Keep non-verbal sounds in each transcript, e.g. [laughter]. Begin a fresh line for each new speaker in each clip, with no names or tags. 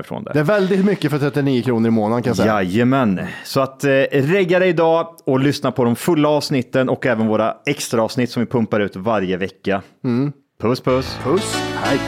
ifrån det.
Det är väldigt mycket för 39 kronor i månaden kan jag säga.
Jajamän, så att eh, regga dig idag och lyssna på de fulla avsnitten och även våra extra avsnitt som vi pumpar ut varje vecka. Puss puss!
Puss. Hej.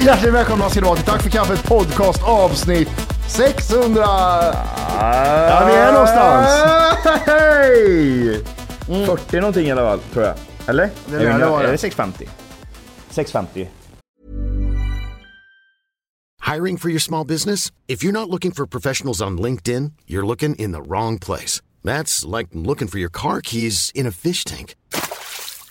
Hjärtligt välkomna ska ni vara till Tack för kaffet podcast avsnitt 600. Ja, vi är någonstans.
Hej! Mm.
40 någonting i alla fall, tror jag. Eller?
lär det
Eller
vara.
är det 650? 650.
Hiring for your small business? If you're not looking for professionals on LinkedIn, you're looking in the wrong place. That's like looking for your car keys in a fish tank.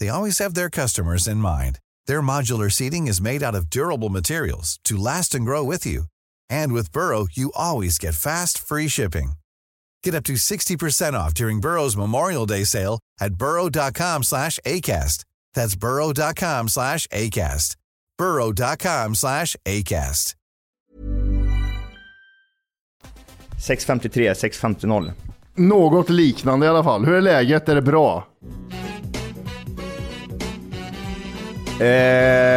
they always have their customers in mind. Their modular seating is made out of durable materials to last and grow with you. And with Burrow, you always get fast, free shipping. Get up to 60% off during Burrow's Memorial Day sale at burrow.com slash ACAST. That's burrow.com slash ACAST. burrow.com slash ACAST.
653,
Eh,
650.
Något liknande i alla fall. Hur är läget? Är det bra?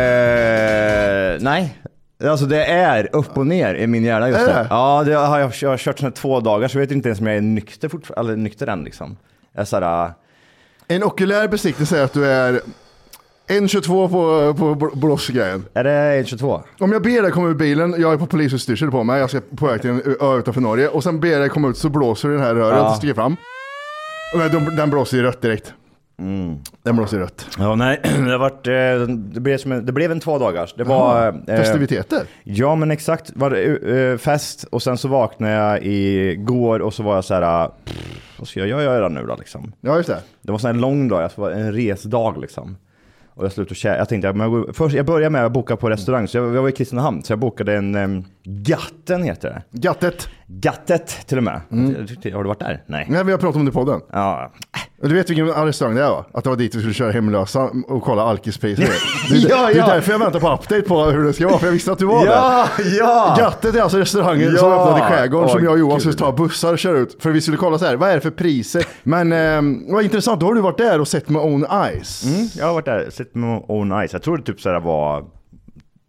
Eh, nej. Alltså det är upp och ner i min hjärna just
Är
nu.
det?
Ja, det har jag, jag har kört såna två dagar så jag vet inte ens om jag är nykter fortfarande, eller nykter än liksom. Jag är såhär, äh,
En okulär besiktning säger att du är 1,22 på, på bl- blåsgrejen.
är det 1,22?
Om jag ber dig komma ur bilen, jag är på polisutstyrsel på mig, jag ska på väg till en ö utanför Norge och sen ber jag dig komma ut så blåser du i den här röret
Ja.
och sticker fram. Och den, de- den blåser i rött direkt.
Mm.
Den blåser i rött.
Ja, nej. [clears throat] Det, har varit, eh, det, blev som en, det blev en två dagars. Det var... eh,
Festiviteter.
Ja men exakt, var det, eh, fest och sen så vaknade jag igår och så var jag så här, äh, pff, vad ska jag göra nu då liksom?
Ja just det.
Det var en sån här lång dag, alltså det var en resdag liksom. Och jag slutade käka. Jag tänkte, ja, men jag, går, först, jag började med att boka på restaurang, så jag, jag var i Kristinehamn, så jag bokade en um, Gatten heter det.
Gattet.
Gattet till och med. Jag tyckte- Har du varit där? Nej.
Nej vi har pratat om det i podden.
Ja.
Och Du vet vilken restaurang det är va? Att det var dit vi skulle köra hemlösa och kolla alkispriser.
[laughs]
Det, är-
Ja,
det
ja.
är därför jag väntar på update på hur det ska vara, för jag visste att du var där.
Ja, ja!
Gattet är alltså restaurangen som
Ah. Ja.
öppnade i skärgården som
Åh,
jag och Johan
gud.
skulle ta bussar och köra ut. För vi skulle kolla så här, vad är det för priser? Men ehm, vad intressant, då har du varit där och sett med own eyes.
Jag har varit där, sett med Own Eyes. Jag tror det typ så här var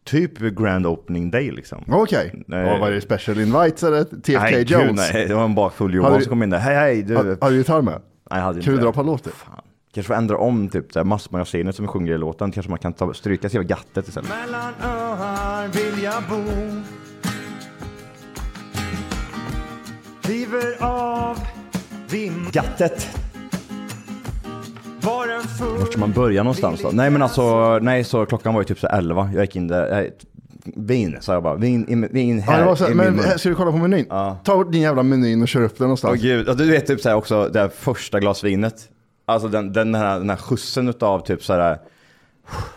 typ Grand Opening Day liksom.
Okej,
Nej.
Ja, var det special invites eller TFK
Nej, gud,
Jones?
nej, det var en bakfull
Hade
Johan
du-
som kom in där. Hej, hej, du.
Har- Har du gitarr med?
Nej, jag hade inte
Kan du
det.
dra ett par låter?
Fan. Kanske får ändra om typ såhär massmagasinet som sjunger i låten. Kanske man kan ta, stryka sig av gattet istället. Mellan öar vill jag bo. River av dim. Gattet. Var ska man börja någonstans då? Nej men alltså, nej så klockan var ju typ så 11. Jag gick in där. Nej, vin sa jag bara. Vin, in, vin här
Ja, det var så här,
i
men
min mun.
här ska vi kolla på menyn? Ta bort din jävla menyn och kör upp den
Åh
någonstans.
gud, och du vet typ såhär också det här första glasvinet. Alltså den, den, här, den här skjutsen utav typ såhär,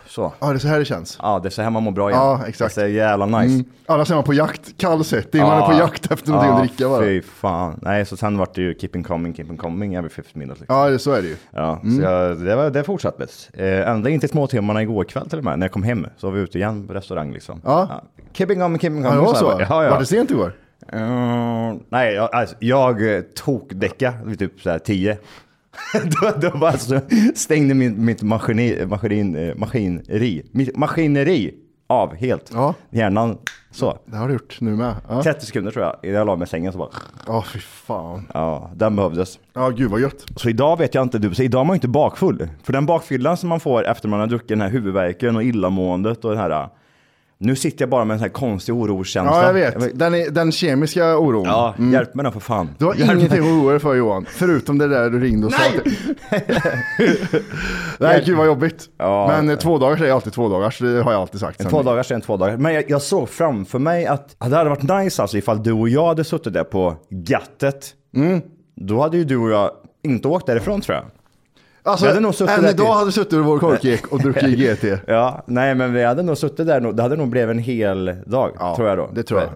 så.
Ja, det är så här det känns.
Ja, det är så här man mår bra igen. Alltså,
Ja, exakt.
Det är så jävla nice.
Mm. Annars är man på jakt, kall setting, man är på jakt efter någonting
ja,
att dricka bara.
fy fan. Nej, så sen vart det ju keeping coming, keeping coming every fifth minute. Liksom.
Ja, Mm. det, så är det ju.
Ja, så jag, det, var, det fortsatte. Eh, ända in till småtimmarna igår kväll till och med, när jag kom hem så var vi ute igen på restaurang liksom.
Ja.
Keeping coming, keeping
Ja,
coming.
det var så?
här bara. Ja, ja.
Var det sent igår?
Eh, nej, jag, alltså, jag eh, tokdäckade vid typ såhär 10. [laughs] då, då bara så stängde min, mitt maskini, maskin, eh, maskineri, mitt maskineri av helt.
Ja.
Hjärnan så.
Det har du gjort nu med. Ja,
30 sekunder tror jag. Jag la mig i sängen så bara,
ja fy fan.
ja, den behövdes.
Ja, gud vad gött.
Så idag vet jag inte, du, så idag är man ju inte bakfull. För den bakfyllan som man får efter man har druckit den här huvudvärken och illamåendet och det här. eh, Nu sitter jag bara med en sån här konstig oroskänsla.
Ja, jag vet. Den, är, den kemiska oron. Mm.
Ja, hjälp mig då för fan.
Du har ingenting att oroa dig för Johan, förutom det där du ringde och sa. Nej! [laughs] Nej, gud vad jobbigt.
Ja.
Men eh, två dagar är alltid två dagar, så det har jag alltid sagt. sen.
Två dagar sen, två dagar. Men jag, jag såg framför mig att ja, det hade varit nice alltså ifall du och jag hade suttit där på gattet.
Mm.
Då hade ju du och jag inte åkt därifrån tror jag.
Alltså,
Vi hade nog suttit
än
där
idag
till-
hade du suttit i vår korkek och druckit GT.
[laughs] Ja, nej men vi hade nog suttit där, nog- det hade nog blivit en hel dag
Ja,
tror jag då.
Det tror jag.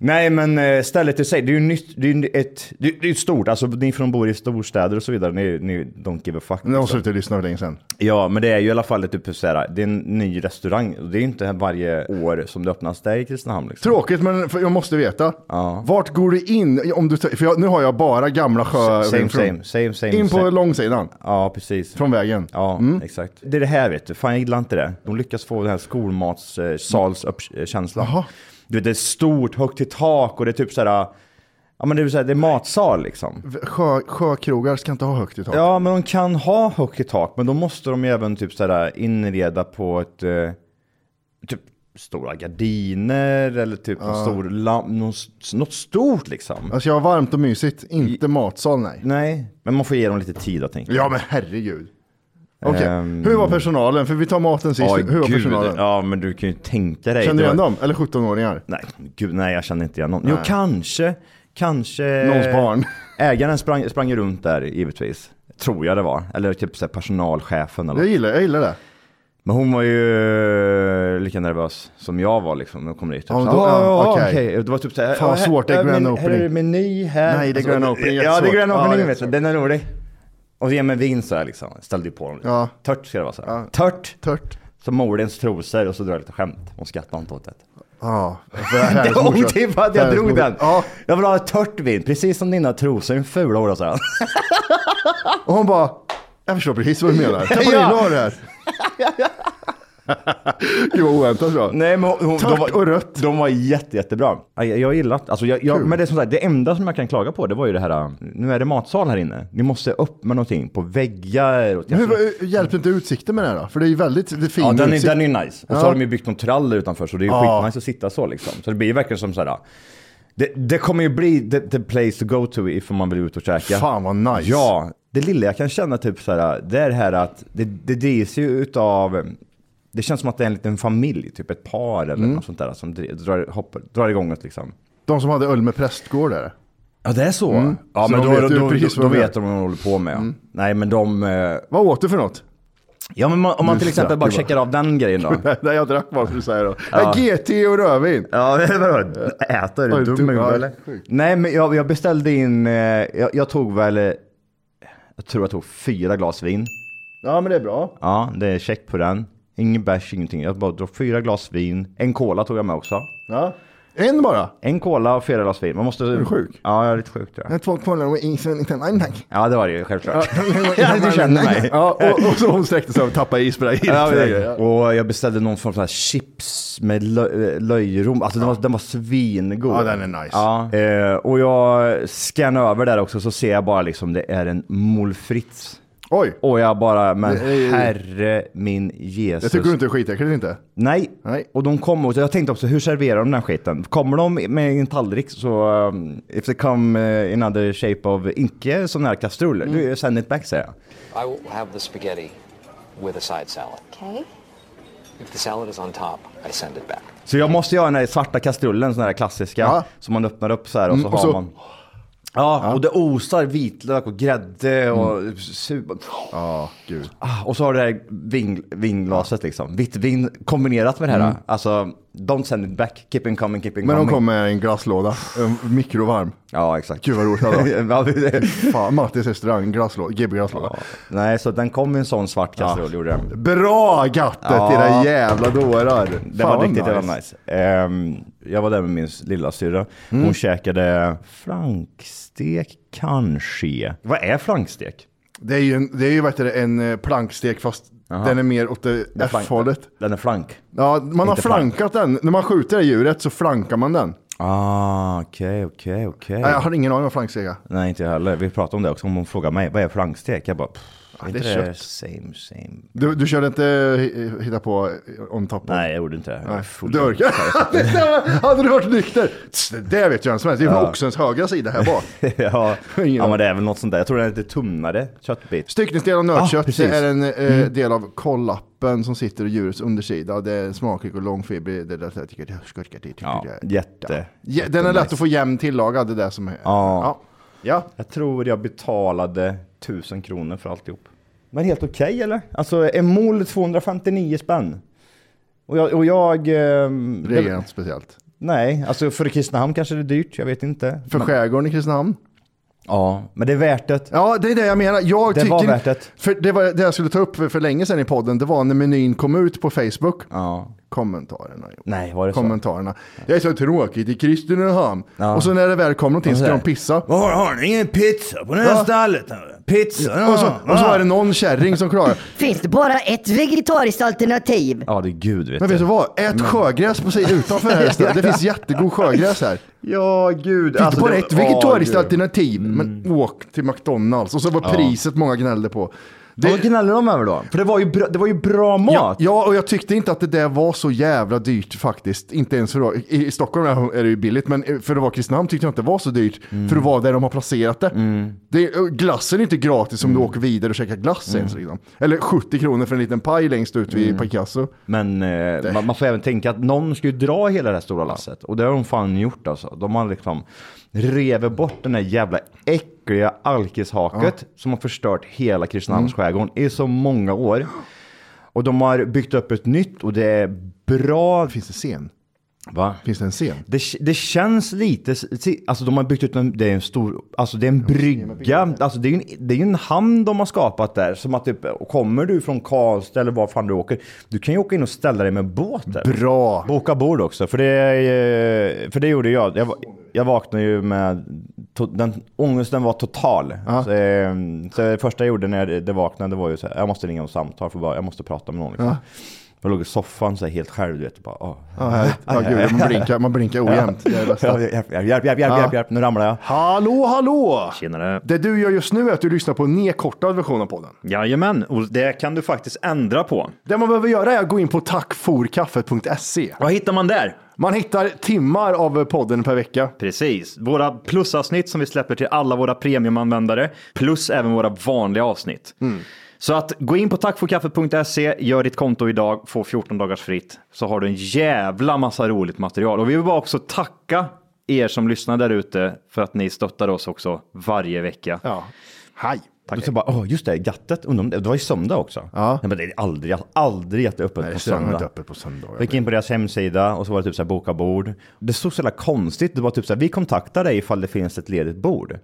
Nej men eh, stället i sig, det är ju nytt, det är ju ett, det är, det är ett stort, alltså ni som bor i storstäder och så vidare, ni, ni don't give a fuck. liksom.
Nu har hon slutat lyssna för länge sedan.
Ja, men det är ju i alla fall ett typ såhär, det är en ny restaurang. och Det är ju inte varje år som det öppnas där i Kristinehamn liksom.
Tråkigt, men för jag måste veta.
Ja.
Vart går du in? Om du, tar- för jag, nu har jag bara gamla sjö...
Same, same, same, same.
in på
same.
långsidan,
Ja, precis.
från vägen.
Ja, exakt. Mm. Det är det här vet du. Fan, jag gillar inte det. De lyckas få den här skolmatssalskänslan.
Jaha.
Du vet, det är stort, högt i tak och det är typ så här. Ja, men det är, så här, det är matsal liksom.
Sjö, sjökrogar ska inte ha högt i tak.
Ja, men de kan ha högt i tak, men då måste de ju även typ så här inreda på ett eh, typ stora gardiner eller typ en stor lamp, något, något stort liksom.
Alltså, Jag ska ha varmt och mysigt, inte matsal nej.
Nej, men man får ge dem lite tid att tänka.
Ja men herregud. Okej,
Ehm.
hur var personalen? För vi tar maten sist.
Oj,
hur var personalen?
Ja, men du kan ju tänka dig.
Känner du
det var-
igen dem? Eller 17-åringar?
Nej, gud, nej jag känner inte igen någon. Jo, kanske, kanske...
Någons barn.
Ägaren sprang, sprang ju runt där givetvis. Tror jag det var. Eller typ så här personalchefen eller
Jag
något.
gillar, jag gillar det.
Men hon var ju lika nervös som jag var liksom när hon kom dit. Typ,
Ja,
så här,
då-
"Ja,
ja,
ja,
okej."
okej. Det var typ så här,
Fan,
"Ja, här-
svårt, det är
ja, men
grand
Här är
opening.
det meny här. Alltså,
Nej, det är grand opening,
Ja, det är
jättesvårt.
grand
Ja,
opening
det är
vet du. Den är rolig. Och så ger mig vin så här liksom. Ställde ju på dem lite.
Ja.
Tört ska det vara så här.
Ja.
Tört.
Tört.
Som Morins trosor och så drar jag lite skämt. Hon skrattar inte åt det.
Ja.
[laughs] Det var otippat jag drog den.
Ja.
Jag vill ha ett tört vin, precis som dina trosor. En ful hora, sa han.
Och hon bara, jag förstår precis vad du menar. Tänk vad
[laughs] Ja.
illa har det här. Gud vad oväntat bra.
[laughs] Nej, men hon, hon-
Tört
de var,
och rött.
De var jätte, jättebra. Ja, Jag, jag gillat. Alltså jag, jag,
Kul.
men det är som sagt, det enda som jag kan klaga på, det var ju det här. äh, Nu är det matsal här inne. Ni måste upp med någonting på väggar. Och,
Men hur, hjälper inte utsikten med det här då? För det är ju väldigt det är fin
ja, den, är-
utsikt.
den är ju nice. Och så
Ja.
har de ju byggt någon traller utanför, så det är ju
Ja.
skitnice att sitta så liksom. Så det blir ju verkligen som så här. äh, Det, det kommer ju bli the, the place to go to ifall man vill ut och käka.
Fan vad nice.
Ja, det lilla jag kan känna typ så här, det är det här att det, det drivs ju utav, det känns som att det är en liten familj, typ ett par eller
Mm.
något sånt där som dri- drar, hoppar, drar igång det liksom.
De som hade öl med prästgård där.
Ja, det är så. Mm. Ja,
Så
men
de
då,
vet
då,
ju
då,
precis
då,
vad de Mm.
vet de vad de håller på med. ja. Nej, men de... eh,
Vad åt du för något?
Ja, men man, om man till exempel
snackar
bara
bara.
checkar av den grejen
[laughs]
då.
Nej, jag drack bara för att säga då. GT och rödvin.
Ja, vadå? Äta? Är
Oj,
du
dum,
dum i huvudet
ja,
eller?
sjukt.
Nej, men jag, jag beställde in, eh, jag, jag tog väl, eh, jag tror jag tog fyra glas vin.
Ja men det är bra.
Ja, det är check på den. Ingen bärs, ingenting. Jag bara drog fyra glas vin. En cola tog jag med också.
Ja. En bara.
En cola och fyra glas vin. Man måste... Är
du sjuk?
Ja, jag är lite sjuk tror jag.
En två kollar och isen inte en tack.
Ja, det var det ju självklart. [laughs] Ja, du känner mig.
[laughs] Ja, och, och så hon sträckte sig och tappade isberg.
Ja, det är det. och jag beställde någon form av sån här chips med lö- eh, löjrom. Alltså den var, den var svingod.
Ja, den är nice.
Ja, eh, och jag scannar över där också så ser jag bara liksom det är en molfritz. frites.
Oj,
Och jag bara, men
Det är-
herre min Jesus.
jag tycker du inte är skitäckligt inte.
Nej.
Nej.
Och de kom och jag tänkte också, hur serverar de den här skiten? Kommer de med en tallrik så, um, if they come uh, in other shape of, inte sådana här kastruller,
Mm.
du send it back säger jag.
I will have the spaghetti with a side salad.
Okay.
If the salad is on top, I send it back.
Så jag måste göra den här svarta kastrullen, sån här klassiska,
Ja.
som man öppnar upp så här och så
Mm, och
har
så-
man. Ja, och det osar vitlök och grädde och su-
Mm. Ja, gud.
Ah, Och så har du det här ving, vinglaset liksom. Vitt vin kombinerat med det här. Alltså, don't send it back. Keep it coming, keep it
Mm. Men
coming.
de kom med en glasslåda, en mikrovarm.
Ja, exakt.
Gud vad roligt det hade
[laughs] Ja, det-
varit. Fan, Mattis restaurang, glasslåda, GB glasslåda.
Nej, så den kom i en sån svart kastrull gjorde den.
Bra gattet,
Ja.
era jävla dårar.
Det var riktigt nice. jävla nice. Ehm, jag var där med min lilla syrra. Hon käkade flankstek kanske. Vad är flankstek?
Det är ju, en, det är ju vad heter det, en eh, plankstek fast den är mer åt det
Den är flank-
F-hållet.
Den är flank.
Ja, man har
Inte plank.
flankat den. När man skjuter det djuret så flankar man den.
Ah, okej, okej, okej.
Nej, jag har ingen aning om flankstega.
Nej, inte jag heller. Vi pratade om det också. Om hon frågar mig, vad är flankstek? Jag bara, pff, är
det
inte
är
det
kött.
same, same?
Du, du körde inte eh, hitta på eh, on top? of-
Nej, jag gjorde inte det. Jag är full.
Du orkar. [laughs] Det stämmer. Hade du varit nykter? Tss, Det där vet jag inte som helst. Det är från oxens högra sida här
[laughs]
bak.
[laughs] ja,
Ingen
ja,
aning.
men det är väl något sånt där. Jag tror det är lite tunnare köttbit.
Styckningsdel av
Ah,
nötkött
precis. Mm.
det är en eh, del av kollappen som sitter i djurets undersida. Det är smakrik och långfibrig. Det är lätt att-
Ja, jätte.
Ja, Den är lätt att få jämn tillagad, det där som är.
Ja.
Ja.
Jag tror jag betalade 1000 kronor för alltihop. Men helt okej eller? Alltså en mol 259 spänn. Och jag... Och jag ehm,
Det är
det,
inte speciellt.
nej, alltså för Kristinehamn kanske det är dyrt, jag vet inte.
För skärgården i Kristinehamn?
Ja, men det är värt det.
Ja, det är det jag menar. Jag
Det
tycker,
var värt det.
För det, var, det jag skulle ta upp för, för länge sedan i podden, det var när menyn kom ut på Facebook.
Ja.
Kommentarerna. Johan.
Nej, var det så?
Kommentarerna. Jag är så tråkigt i Kristinehamn.
Ja.
Och så när det väl kom någonting så ska de pissa.
Var har ni ingen pizza på det här
Ja.
stället? Pizza? Ah.
Och så, och så är det någon kärring som
[laughs]
klagar.
Finns det bara ett vegetariskt alternativ?
Ja, det är gud vet
Men vet du vad?
Mm.
Ät sjögräs på sig utanför det här stället. Det finns jättegod sjögräs
[laughs]
här.
Ja, gud. alltså,
Titta på det, ett vegetariskt alternativ.
alternativ.
Men
Mm.
åk till McDonalds. Och så var priset många gnällde på. Det-
Vad gnäller de över då? För det var ju bra, det var ju bra mat.
Ja, ja, och jag tyckte inte att det där var så jävla dyrt faktiskt. Inte ens för att- i, I Stockholm är det ju billigt, men för att vara Kristinehamn tyckte jag inte det var så dyrt. För att vara där de har placerat det. det och glassen är inte gratis om du åker vidare och käkar glass ens. Liksom. Eller 70 kronor för en liten paj längst ut vid Picasso.
Men eh, man, man får även tänka att någon ska ju dra hela det här stora lasset. Och det har de fan gjort alltså. De har liksom revet bort den här jävla äckliga alkishaket som har förstört hela Kristinehamns skärgård i så många år. Och de har byggt upp ett nytt och det är bra.
Finns det scen?
Va?
Finns det en scen?
Det, det känns lite, alltså de har byggt ut en, det är en stor, alltså det är en brygga, alltså det är ju en, det är ju en hamn de har skapat där. Som att typ, och kommer du från Karlstad eller var fan du åker, du kan ju åka in och ställa dig med båt där.
Bra!
Boka bord också, för det, eh, för det gjorde jag. Jag, va- jag vaknade ju med, to, den, ångesten var total. Så, eh, så det första jag gjorde när jag det vaknade var ju så här, jag måste ringa om samtal, för bara, jag måste prata med någon. Liksom. Jag låg i soffan så här, helt själv, du vet. Bara, åh.
Ja, härligt. ja, gud, man, blinkar, man blinkar ojämnt. Det är det
Ja,
bästa.
Hjälp, hjälp, hjälp, hjälp, hjälp, hjälp, nu ramlar jag.
Hallå, hallå!
Tjenare.
Det du gör just nu är att du lyssnar på en nedkortad version av podden.
Jajamän, och det kan du faktiskt ändra på.
Det man behöver göra är att gå in på tackforkaffet.se.
Vad hittar man där?
Man hittar timmar av podden per vecka.
Precis. Våra plusavsnitt som vi släpper till alla våra premiumanvändare, plus även våra vanliga avsnitt.
Mm.
Så att gå in på tackforkaffet.se, gör ditt konto idag, få 14 dagars fritt, så har du en jävla massa roligt material. Och vi vill bara också tacka er som lyssnar där ute för att ni stöttar oss också varje vecka.
Ja. Hej.
Då så bara, åh just det, gattet, undrar om det, det var ju söndag också. Ja. Nej, men det är aldrig, aldrig jätteöppet
Nej,
på
restaurangen var inte
söndag.
öppet på
Jag gick
söndagar.
in på deras hemsida och så var det typ så här boka bord. Det stod så jävla konstigt, det var typ så här, vi kontaktar dig ifall det finns ett ledigt bord.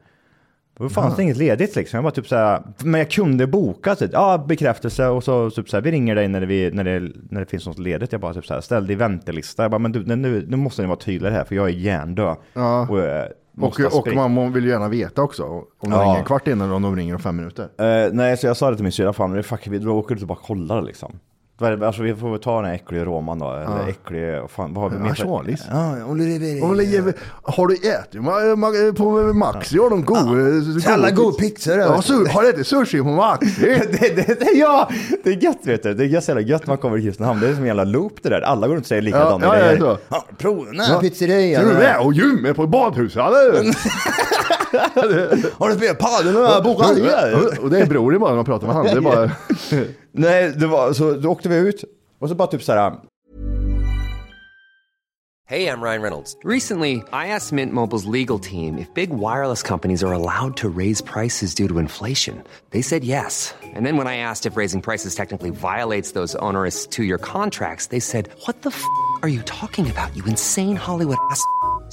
Då fanns det inget ledigt liksom. Jag var typ så här, men jag kunde boka typ, ja bekräftelse och så typ så här, vi ringer dig när, vi, när, det, när det finns något ledigt. Jag bara typ så här, ställ dig i väntelista. Jag bara, men du, nu, nu måste ni vara tydligare här för jag är hjärndöd. Ja. Och, jag
Och,
måste ha
och
sprit.
man vill ju gärna veta också. Om de
Ja.
ringer en kvart innan eller om de ringer om fem minuter.
Eh, nej, så jag sa det till min syrra, fan men fuck, vi då åker du tillbaka och kollar liksom. Vad är det- Alltså vi får väl ta den här äckliga roman då, eller äcklig, vad fan, vad har vi mer för-
Ansjovis.
Ja, [laughs] oliver-
Och vill ge- Har du ätit ma- ma- på Max? Gör de god?
Alla god pizza, eller?
Ja, sur, har du ätit sushi på Max?
[laughs] det, det, det, ja, det är gött vet du. Det är gött, så jävla gött man kommer till Kristinehamn. Det är som en jävla loop det där. Alla går runt och säger likadana
Ja, ja,
grejer.
det är så.
Ja, prova den här pizzerian.
Tror du det? Och gym är på badhuset,
[laughs]
eller?
Har du spelat padel? Ja, boka
Och- Och det är bror det är bara när man pratar med han. Det är bara...
[laughs] Nej, det var, så då åkte vi ut och så bara typ så här.
Hey, I'm Ryan Reynolds. Recently, I asked Mint Mobile's legal team if big wireless companies are allowed to raise prices due to inflation. They said yes. And then when I asked if raising prices technically violates those onerous two year contracts, they said, What the f are you talking about, you insane Hollywood ass? f- a-"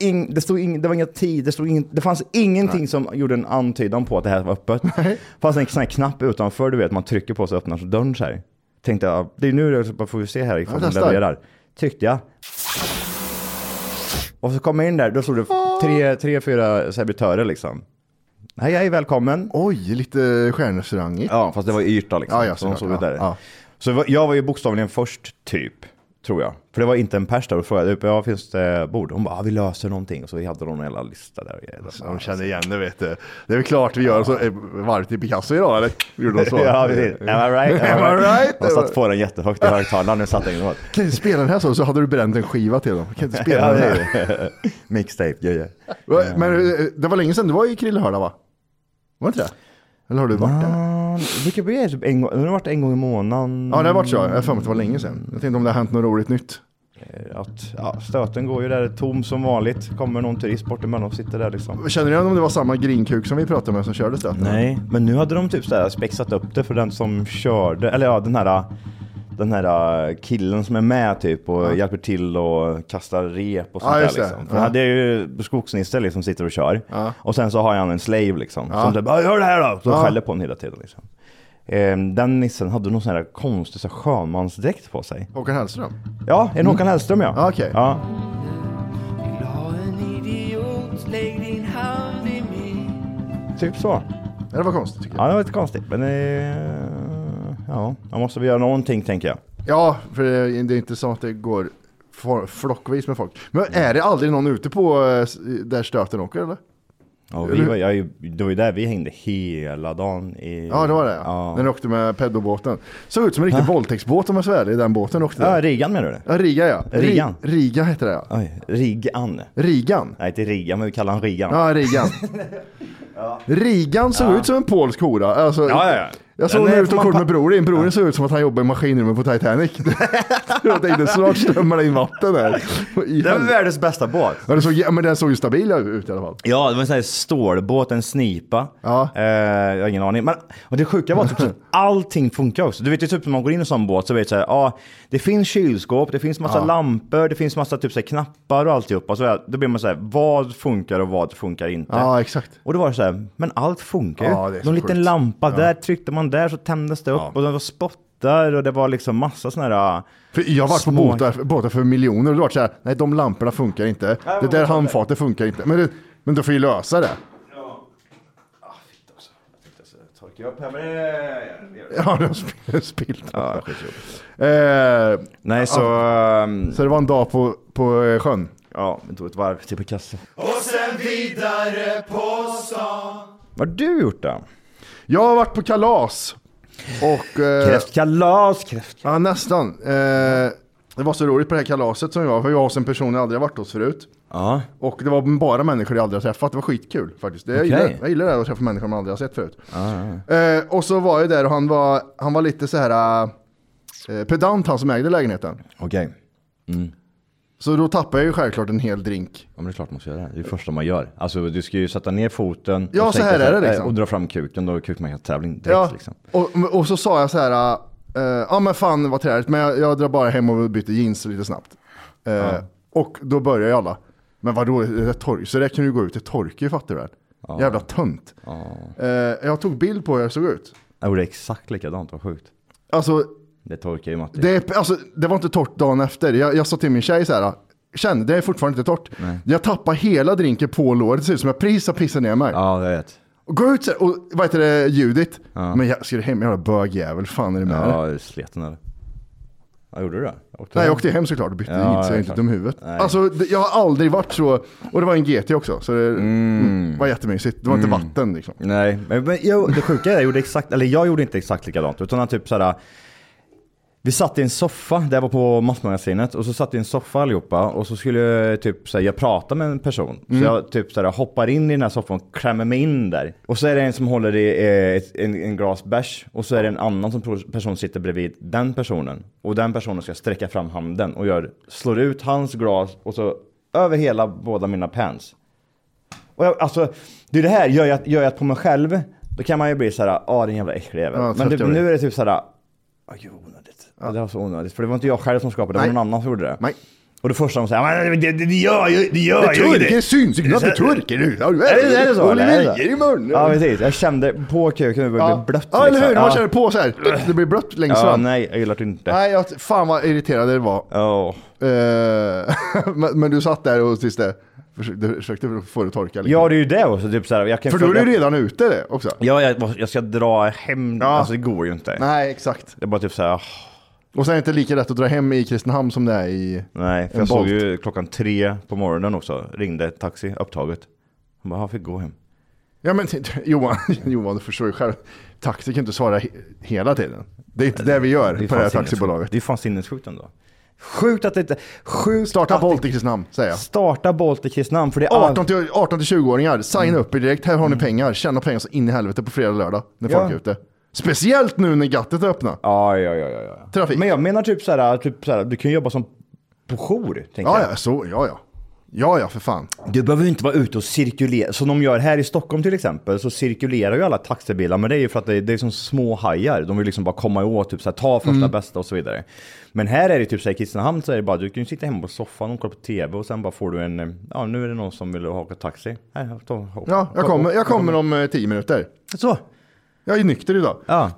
ing, det, stod ing, det var inga tid, det, stod ing, det fanns ingenting som gjorde en antydan på att det här var öppet. Det fanns en sån här knapp utanför, du vet, man trycker på så öppnar så dörren så här. Tänkte jag, det är nu jag bara får vi se här ifall
Ja,
de
testar.
levererar. Tryckte jag. Och så kom jag in där, då stod det tre, tre fyra servitörer liksom. Hej, hej, välkommen.
Oj, lite stjärnrestaurangigt.
Ja, fast det var i Yrta liksom.
Ja, ja,
så de
såklart.
såg det där.
Ja, ja.
Så det var- jag var ju bokstavligen först, typ. Tror jag. För det var inte en pers där och frågade, ja finns det bord? Hon bara, ja, vi löser någonting. Och så hade de en jävla lista där. Alltså. och
De
grejer.
känner igen det vet du. Det är väl klart vi gör så eh, varvet i Picasso idag eller? Gjorde de så?
[laughs] Ja, precis. Am I right?
Am I right?
De satt på den jättehögt i högtalaren. Nu satt den emot.
Kan du spela den här så, så hade du bränt en skiva till dem. Kan inte spela
Ja,
den här.
det- [laughs] Mixtape, grejer.
Va? Men eh, det var länge sedan du var i Krillehörda va? Var det inte det? Eller har du varit där?
Det brukar bli typ en gång, det har varit en gång i månaden.
Ja, det har varit så. Jag har för mig att det var länge sedan. Jag tänkte om det har hänt något roligt nytt.
Att, ja, stöten går ju där, tom som vanligt. Kommer någon turist bort emellan och sitter där liksom.
Känner du igen om det var samma grinkuk som vi pratade med som körde stöten?
Nej, men nu hade de typ så här spexat upp det för den som körde, eller ja den här den här killen som är med typ och hjälper till och kastar rep och sånt
Ja,
där
just det.
liksom. För
Ja.
det är ju skogsnisse liksom sitter och kör. Och sen så har han en slave liksom. Som typ "Ja, gör det här då! Så skäller på honom hela tiden liksom. Ehm, Den nissen hade någon sån här konstig så här sjömansdräkt på sig.
Håkan Hellström?
Ja, en Håkan Hellström ja.
Mm. Ja, okej.
Ja. Typ så.
Ja, Det var konstigt tycker jag.
Ja, det var lite konstigt. Men eh, ja, man måste väl göra någonting tänker jag.
Ja, för det det är inte så att det går for- flockvis med folk. Men är det aldrig någon ute på eh, s- där stöten åker eller?
Ja, vi var, jag, det var ju där vi hängde hela dagen. I,
Ja, det var det.
Ja.
När du åkte med peddobåten. Såg ut som en riktig våldtäktsbåt om jag svär i den båten du åkte.
Ja,
där.
Rigan menar du?
Ja, Riga ja. Ri-
Rigan.
Riga heter det ja.
Oj, Rigan.
Rigan.
Nej, inte Rigan, men vi kallar han Rigan.
Ja,
[laughs]
Rigan. Rigan såg ut som en polsk hora. Alltså,
Ja, ja, ja.
Jag såg
Den
honom
är-
ut och
man
kort
pa-
med bror din. Broren såg ut som att han jobbade i maskinrummet på
[laughs]
Titanic. [laughs] jag tänkte snart strömmar det in vatten här. I
Det var
helvete.
världens bästa båt.
Ja, den såg, ja, men den såg ju stabil ut i alla fall.
Ja, det var en sån här stålbåt, en snipa.
Ja.
Eh, jag har ingen aning. Men, och det sjuka var
[laughs]
typ att allting funkar också. Du vet ju typ när man går in i en sån båt så vet du så här, ja, det finns kylskåp, det finns massa lampor, det finns massa typ så här, knappar och alltihopa. Så här, då blir man så här, vad funkar och vad funkar inte?
Ja, exakt.
Och då var det så här, men allt funkar ju.
Ja, det är så
Någon liten
sjukt.
lampa där, tryckte man där så tändes det upp och det var spottar och det var liksom massa såna här...
För jag har varit på
Små-
båtar, båtar för miljoner och det har varit så här, nej de lamporna funkar inte. det där handfatet funkar inte. Men, det, men då får vi lösa det. [laughs]
Torkar jag upp här med...
Ja, de har sp- spillt. eh,
Nej, så... ehm,
så det var en dag på, på eh, sjön.
Ja, vi tog ett varv till Picasso. Och sen vidare på stan. Vad har du gjort då?
Jag har varit på kalas. Och... Eh,
Kräftkalas, kräftkalas.
ja, nästan. Eh, det var så roligt på det här kalaset som jag var, för jag var hos en person jag aldrig har varit hos förut.
Ja.
Och det var bara människor jag aldrig har träffat. Det var skitkul faktiskt. Det, jag,
Okej. Ah,
gillar, jag gillar det här att träffa människor man aldrig har sett förut. Eh, och så var jag där och han var, han var lite så här eh, pedant han som ägde lägenheten.
Okej.
Så då tappade jag ju självklart en hel drink.
Ja men det är klart man ska göra det. Det är det första man gör. Alltså du ska ju sätta ner foten.
Ja,
och
så här
tänka
är det
eh,
liksom.
Och dra fram kuken. Då är kukmarknadstävling direkt
Ja,
liksom.
och, och så sa jag så här, eh, ja men fan vad träligt, men jag, jag drar bara hem och byter jeans lite snabbt. Eh, Och då börjar ju alla, men vadå, det är tork, så det kan ju gå ut, det torkar ju fattar du väl? Jävla tönt. Eh, jag tog bild på hur jag såg ut.
Jag gjorde exakt likadant, vad sjukt.
Alltså
Det torkar ju Matti.
Det, är, alltså, det var inte torrt dagen efter. Jag, jag sa till min tjej så här, känn det är fortfarande inte torrt. Jag tappade hela drinken på låret, det ser ut som jag precis har pissat ner mig.
Ja, jag vet.
Och gå ut så här, och vad heter det, Judit. Men jag, ska du hem jävla bögjävel, fan är det med dig?
Ja, sleten eller? Ja, gjorde du det? Åkte
Nej,
du?
jag åkte hem såklart och bytte
Ja,
jeans, jag
ja,
är inte
klart.
dum i huvudet.
Nej.
Alltså, det, jag har aldrig varit så, och det var en GT också, så det mm, var jättemysigt. Det var inte vatten liksom.
Nej, men, men jag, det sjuka är jag gjorde exakt, eller jag gjorde inte exakt likadant. Utan han typ såhär, Vi satt i en soffa, det här var på Massmagasinet, och så satt i en soffa allihopa och så skulle jag typ så här, jag prata med en person.
Mm.
Så jag typ så här, hoppar in i den här soffan och klämmer mig in där. Och så är det en som håller i eh, ett, en, en glas bärs och så är det en annan som pro- person sitter bredvid den personen. Och den personen ska sträcka fram handen och gör, slår ut hans glas och så över hela båda mina pants. Och jag, alltså, det är det här, gör jag, gör jag på mig själv, då kan man ju bli såhär, ja den jävla äcklig jävel.
Ja,
Men
trött
typ,
jag blir.
nu är det typ såhär, åh gud vad onödigt. Det var så onödigt, för det var inte jag själv som skapade det, det
Nej.
var någon annan som gjorde det.
Nej.
Och det första de säger, "Men det, det, det gör ju det. Gör
Det
ju
turker syns, det är
Det är så-
turker nu. Ja, du
Är det, är det så?
Och det
eller?
väjer i munnen.
Ja precis, jag kände på kuken, det blev blött.
Ja, eller hur?
liksom.
Man känner på så här. Det blir blött längst
Ja,
fram.
nej, jag gillar det inte.
Nej, jag, fan vad irriterande det var.
Ja.
Eh, [laughs] men, men du satt där och tills det, försökte, försökte få det att torka. Liksom.
Ja, det är ju det också. Typ såhär, jag kan
För då är
följa-
du redan ute det också.
Ja, jag, jag ska dra hem.
Ja.
Alltså det går ju inte.
Nej, exakt.
Det är bara typ såhär, "Ah,
Och sen är det inte lika lätt att dra hem i Kristinehamn som det är i...
Nej, för
En
jag såg
Bolt.
ju klockan tre på morgonen också. Ringde taxi, upptaget. Han bara, han fick gå hem.
Ja, men Johan, [laughs] Johan, du förstår ju själv. Taxi kan inte svara he- hela tiden. Det är inte det vi gör på
är fan
det här
sinnessjukt.
taxibolaget.
Det är fan sinnessjukt ändå. Sjukt att det inte... Sjukt
Starta
att det-
Bolt i Kristinehamn, säger jag.
Starta Bolt i Kristinehamn, för det är
18 till 18 till 20-åringar, signa
Mm.
upp er direkt. Här har ni pengar. Tjäna pengar så in i helvete på fredag och lördag när folk
Ja.
är ute. Speciellt nu när gattet är öppna.
Ja, ja, ja, ja, ja.
Trafik.
Men jag menar typ såhär, typ såhär, du kan ju jobba som på jour, tänker
Ja,
jag.
ja, så, ja, ja. Ja, ja, för fan.
Du behöver ju inte vara ute och cirkulera. Som de gör här i Stockholm till exempel, så cirkulerar ju alla taxibilar. Men det är ju för att det, det är som små hajar. De vill liksom bara komma åt, typ så här, ta första
Mm.
bästa och så vidare. Men här är det typ så här, i Kristinehamn så är det bara, du kan ju sitta hemma på soffan och kolla på TV och sen bara får du en, eh, ja nu är det någon som vill haka taxi. Här, ta, hop,
Ja, jag kommer, jag kommer om eh, 10 minuter.
Så!
Jag är nykter idag.
Ja.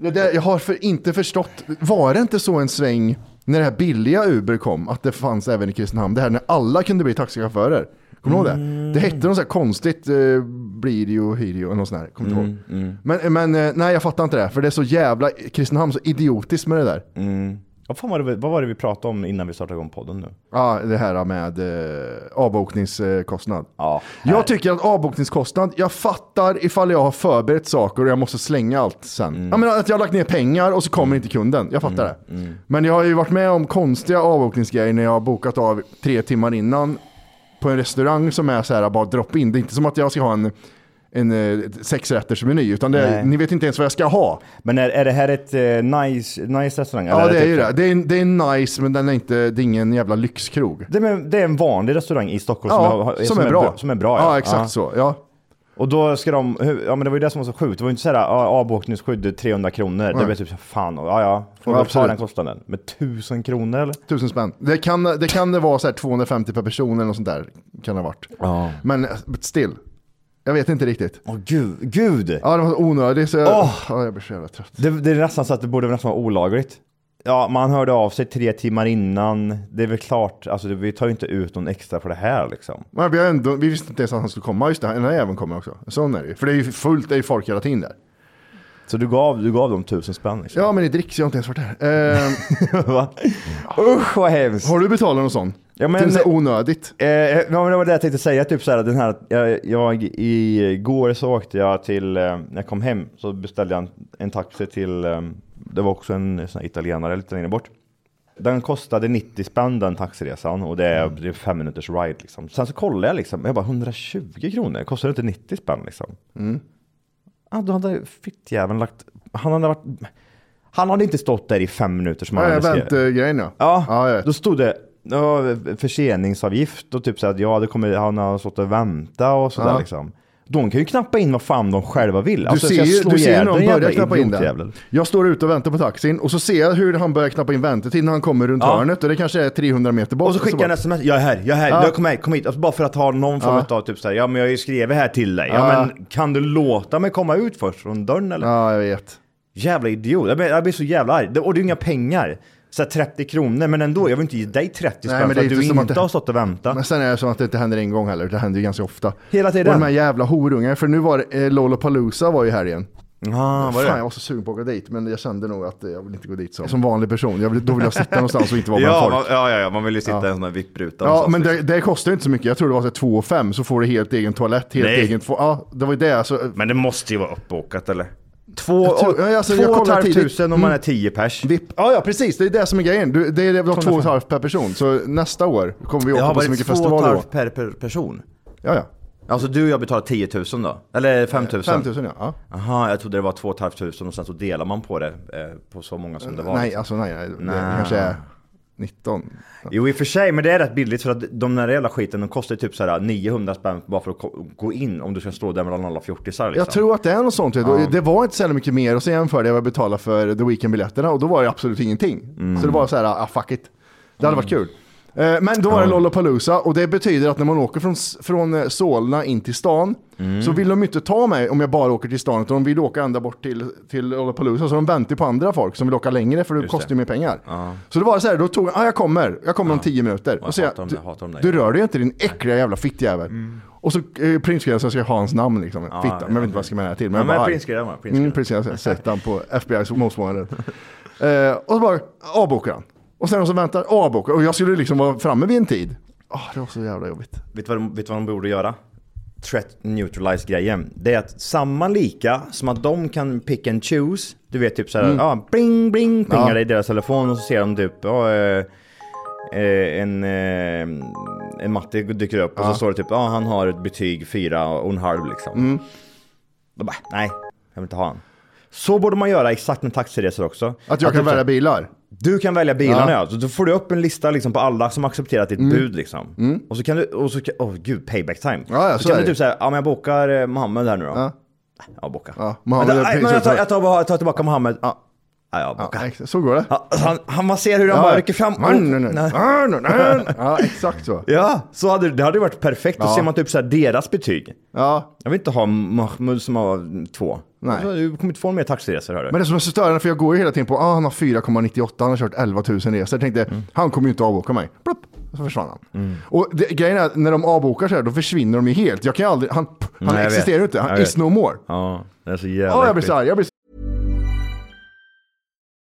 Det där, jag har för, inte förstått. Var det inte så en sväng när det här billiga Uber kom, att det fanns även i Kristinehamn? Det här när alla kunde bli taxichaufförer. Kommer du ihåg det? Det hette något så här konstigt, eh, Blirio, Hirio eller något sånt där. Kommer inte ihåg. Men, men eh, nej, jag fattar inte det. här, För det är så jävla, Kristinehamn så idiotiskt med det där.
Vad fan var det, vi- vad var det vi pratade om innan vi startade igång podden nu?
Ja, det här med eh, avbokningskostnad.
Ja,
jag tycker att avbokningskostnad, jag fattar ifall jag har förberett saker och jag måste slänga allt sen. Jag menar att jag har lagt ner pengar och så kommer inte kunden. Jag fattar det. Men jag har ju varit med om konstiga avbokningsgrejer när jag har bokat av tre timmar innan på en restaurang som är så här bara drop in. Det är inte som att jag ska ha en, en eh, sexrättersmeny utan det är,
Nej.
ni vet inte ens vad jag ska ha.
Men är, är det här ett eh, nice, nice restaurang?
Ja
Eller
det är
typ
ju
så
det.
här-
Det är, det är nice men den är inte, det är ingen jävla lyxkrog.
Det är, det är en vanlig restaurang i Stockholm som, har-
som, är bra.
Som är bra
ja. exakt så. Ja.
Och då ska de, hur- ja men det var ju det som var så sjukt, det var ju inte såhär ja, avbokningsskydd 300 kronor, det blev typ så, fan, ja ja, får
Ja,
vi ta
absolut.
den kostnaden? Med 1000 kronor eller?
Tusen spänn. Det kan det, kan det vara så här 250 per person eller något sånt där. Kan det ha varit.
Ja.
Men but still. Jag vet inte riktigt.
Åh gud, gud!
Ja, det var onödigt. Så jag,
Åh!
ja, jag blir så jävla trött.
Det, det är nästan så att det borde nästan vara olagligt. Ja, man hörde av sig tre timmar innan, det är väl klart, alltså vi tar ju inte ut någon extra för det här liksom.
Men vi, har ändå, vi visste inte ens att han skulle komma. Just det, den här jäveln kommer också. Sån är det ju. För det är ju fullt, det är ju folk hela tiden där.
Så du gav, du gav dem 1000 spänn liksom?
Ja, men det dricks, jag har inte ens varit där.
[laughs]
Eh,
Va? Usch vad hemskt!
har du betalat någon sån?
Ja, men-
Till så här onödigt.
Eh, ja, men det var det jag tänkte säga, typ så här, den här, jag, jag igår så åkte jag till, eh, när jag kom hem så beställde jag en, en taxi till, eh, det var också en sån här italienare lite längre bort. Den kostade 90 spänn den taxiresan och det
Mm.
är, det är fem minuters ride liksom. Sen så kollade jag liksom, jag bara 120 kronor, kostar det inte 90 spänn liksom?
Mm.
Ja, då hade fittjäveln lagt, han hade varit, han hade inte stått där i fem minuter som han
Ja, jag
hade skrivit.
väntade-grejen ja.
Ja,
jag vet.
då stod det ja, förseningsavgift och typ så att jag hade kommit, han har stått och vänta och sådär
Ja.
liksom. De kan ju knappa in vad fan de själva vill. Alltså,
Du ser ju du ser ju när de börjar knappa in
där.
den. Jag står ute och väntar på taxin och så ser jag hur han börjar knappa in väntetid när han kommer runt
Ja.
hörnet och det kanske är 300 meter bort.
Och så skickar han
bara-
sms, jag är här, jag är här,
Ja.
jag kom hit, kom hit. Alltså bara för att ha någon form
Ja.
av typ såhär, ja men jag har ju skrivit här till dig. Ja,
Ja.
men kan du låta mig komma ut först från dörren eller?
Ja, jag vet.
Jävla idiot, jag blir, jag blir så jävla arg. Det- Och det är ju inga pengar. Så här 30 kronor, men ändå, jag vill inte ge dig 30
Nej,
spänn
men
för
det är
att du
inte som
inte
att det-
har stått och väntat.
Men sen är det så att det inte händer en gång heller, det händer ju ganska ofta.
Hela tiden.
Och de här jävla horungarna, för nu var det, eh, Lollapalooza var ju här igen.
Ah, vad är
Fan,
det?
jag var så sugen på att gå dit, men jag kände nog att eh, jag vill inte gå dit som, som vanlig person. Jag vill, då vill jag sitta någonstans och inte vara bland
Ja,
folk.
man, ja, ja, ja, man vill ju sitta i en sån här vippruta.
Ja,
någonstans,
men
liksom.
det, det kostar ju inte så mycket. Jag tror det var så här 2 5 så får du helt egen toalett, helt
Nej.
egen... två- Ja, det alltså, var ju det. Så,
men det måste ju vara uppbokat eller? Två,
Jag tror- ja, alltså,
två
jag
och ett
kollar
halvt
tidigt.
tusen om man är tio pers.
VIP. Ja, ja, precis. Det är det som är grejen. Du, det är det vi har två och ett halvt per person. Så nästa år kommer vi
Jag
åka
har
på så
varit
mycket
två och ett
festivaler.
halvt per, per person.
Ja, ja.
Alltså du och jag betalar 10 000 då? Eller 5 000?
5 000 ja. ja.
Aha, jag trodde det var 2 500 och sen så delar man på det eh, på så många som det var.
Nej, alltså nej. nej. Det
Nej.
kanske är 19.
Jo i och för sig, men det är rätt billigt för att de där jävla skiten de kostar ju typ såhär 900 spänn bara för att ko- gå in om du ska stå där mellan alla fjortisar liksom.
Jag tror att det är något sånt. Det var inte så jävla mycket mer och så jämförde jag vad jag betalade för The Weeknd-biljetterna och då var det absolut ingenting.
Mm.
Så det var så här, ah fuck it. Det hade varit kul. Eh, Men då var det Lollapalooza och det betyder att när man åker från, från eh, Solna in till stan
Mm.
så vill de ju inte ta mig om jag bara åker till stan utan de vill åka ända bort till, till Lollapalooza så de väntar på andra folk som vill åka längre för det kostar ju mer pengar. Så det var så här, då tog jag, ah, jag kommer, jag kommer om tio minuter.
jag
Och så jag,
hatar dem där, jag hatar dem där.
du rör dig ju inte din äckliga jävla fittjävel. Och så eh, printscreenar så ska jag ha hans namn liksom. Fitta, men jag vet inte vad jag ska med det här till. Men,
Mm. Ja,
jag
men
bara,
printscreenar man, printscreenar.
mm, printscreenar. Sätt han på FBI's
[laughs]
motsvarighet. eh, och så bara avbokar han. Och sen så väntar avbokar. Och jag skulle liksom vara framme vid en tid. Ah, det var så jävla jobbigt.
Vet du vad de, vet du vad de borde göra? Threat neutralize grejen. Det är att samma lika som att de kan pick and choose. Du vet typ såhär, ja bling bling pingar det i deras telefon och så ser de typ, ja eh, eh, en, eh, en matte dyker upp och så står det typ, ja han har ett betyg fyra och en halv liksom. Då bara, nej, jag vill inte ha han. Så borde man göra exakt med taxiresor också.
Att jag kan
typ så-
välja bilar.
du kan välja bilarna
Ja. Mm.
ja. Så då får du upp en lista liksom på alla som accepterat ditt bud liksom. Och så kan du, och så kan, åh gud, payback time.
Ja, ja,
så,
så
kan
är
du
det.
typ såhär, ja men jag bokar eh, Mohammed här nu då. Ja. Jag bokar.
Ja, Mohammed
men,
är
nej,
precis
men jag, tar,
så.
jag, tar, bara- jag tar tillbaka Mohammed. Ja, ja jag
Ja,
bokar.
ex- så går det.
Ja, så han, han, man ser hur han bara rycker fram.
Ja, nu, nu.
[laughs] Nej.
Ja, nu, nu. Ja, exakt så.
Ja, så hade, det hade ju varit perfekt. Då
Ja.
ser man typ såhär deras betyg.
Ja,
Jag vill inte ha Mahmoud som har två.
Nej.
Så Du kommer inte få mer taxiresor hör du.
Men det som är så störande, för jag går ju hela tiden på ah, han har 4,98, han har kört 11 000 resor. Jag tänkte,
Mm.
han kommer ju inte avboka mig. Plopp, så försvann han. Och det, grejen är, att när de avbokar så här, då försvinner de ju helt. Jag kan ju aldrig, han, han
Nej, jag
existerar ju
vet.
inte, han
Jag vet.
is no more.
Ja, det är så jävla
Ja, jag blir
äckligt.
så här, jag blir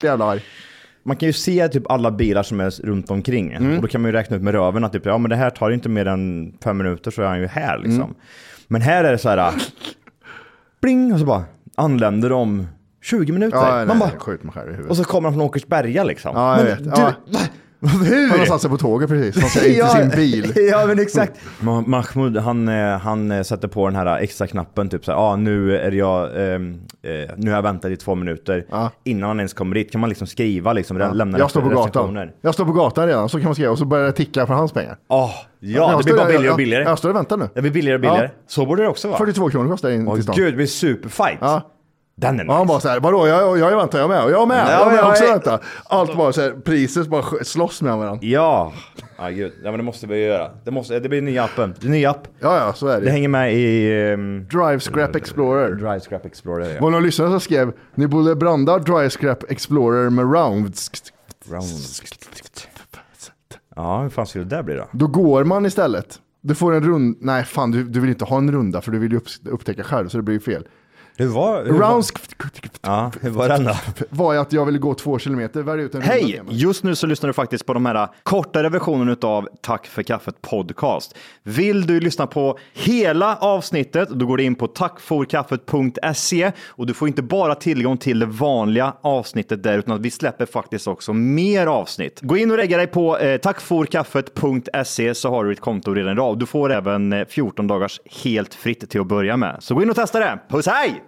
så jävla arg.
Man kan ju se typ alla bilar som är runt omkring
Mm.
och då kan man ju räkna ut med röven att typ, ja men det här tar inte mer än fem minuter så är han ju här
Mm.
liksom. Men här är det så här, ah, bling, och så bara anländer om 20 minuter.
Ja, Ah, nej,
man
nej,
bara,
jag skjuter mig själv i
och
huvudet.
så kommer han från Åkersberga liksom.
Ja, jag vet.
du,
Ja.
hur?
Han har satt sig på tåget precis, han
[laughs]
säger inte sin bil.
ja
[laughs]
men exakt. Ma- Mahmoud han, eh, han eh, sätter på den här extra knappen typ såhär, ja ah, nu är jag, ehm, eh, nu har jag väntat i två minuter.
Ja.
Innan han ens kommer dit kan man liksom skriva liksom, ja. lämna
Jag står på gatan.
recensioner.
Jag står på gatan redan, så kan man skriva och så börjar det ticka för hans pengar.
Ah,
Jag
ja,
står-
det blir bara billigare
jag-
och billigare.
Jag, jag står och väntar nu.
Det blir billigare och billigare. Så borde det också vara.
42 kronor kostar det in till
Åh
stan.
gud, det blir superfight.
Ja.
Den är
Och han
nice.
bara så här, vadå, jag, jag väntar, jag med, och jag med,
Ja,
jag med,
jag
också
är-
väntar. Allt bara så här, priset bara sk- slåss med varandra.
Ja, ah, gud. Ja, men det måste vi göra. Det, måste, det blir nya appen. Det är nya app.
Ja, ja, så är
Det
det.
hänger med i... Um,
Drive Scrap Explorer.
Drive Scrap Explorer.
Var
Ja.
det någon lyssnare som skrev, ni borde blanda Drive Scrap Explorer med Rounds.
Rounds. ja, hur fan skulle det där bli då?
Då går man istället. Du får en runda, nej fan du, du vill inte ha en runda för du vill ju upp, upptäcka själv så det blir ju fel.
Hur var, hur
Rounds
Var, ja, hur var den då?
var ju att jag ville gå två kilometer varje ut en runda
Hej!
med mig.
Just nu så lyssnar du faktiskt på de här kortare versionen av Tack för kaffet podcast. Vill du lyssna på hela avsnittet, då går du in på tackforkaffet.se och du får inte bara tillgång till det vanliga avsnittet där, utan att vi släpper faktiskt också mer avsnitt. Gå in och regga dig på eh, tackforkaffet.se så har du ditt konto redan idag. Du får även eh, 14 dagars helt fritt till att börja med. Så gå in och testa det. Puss hej!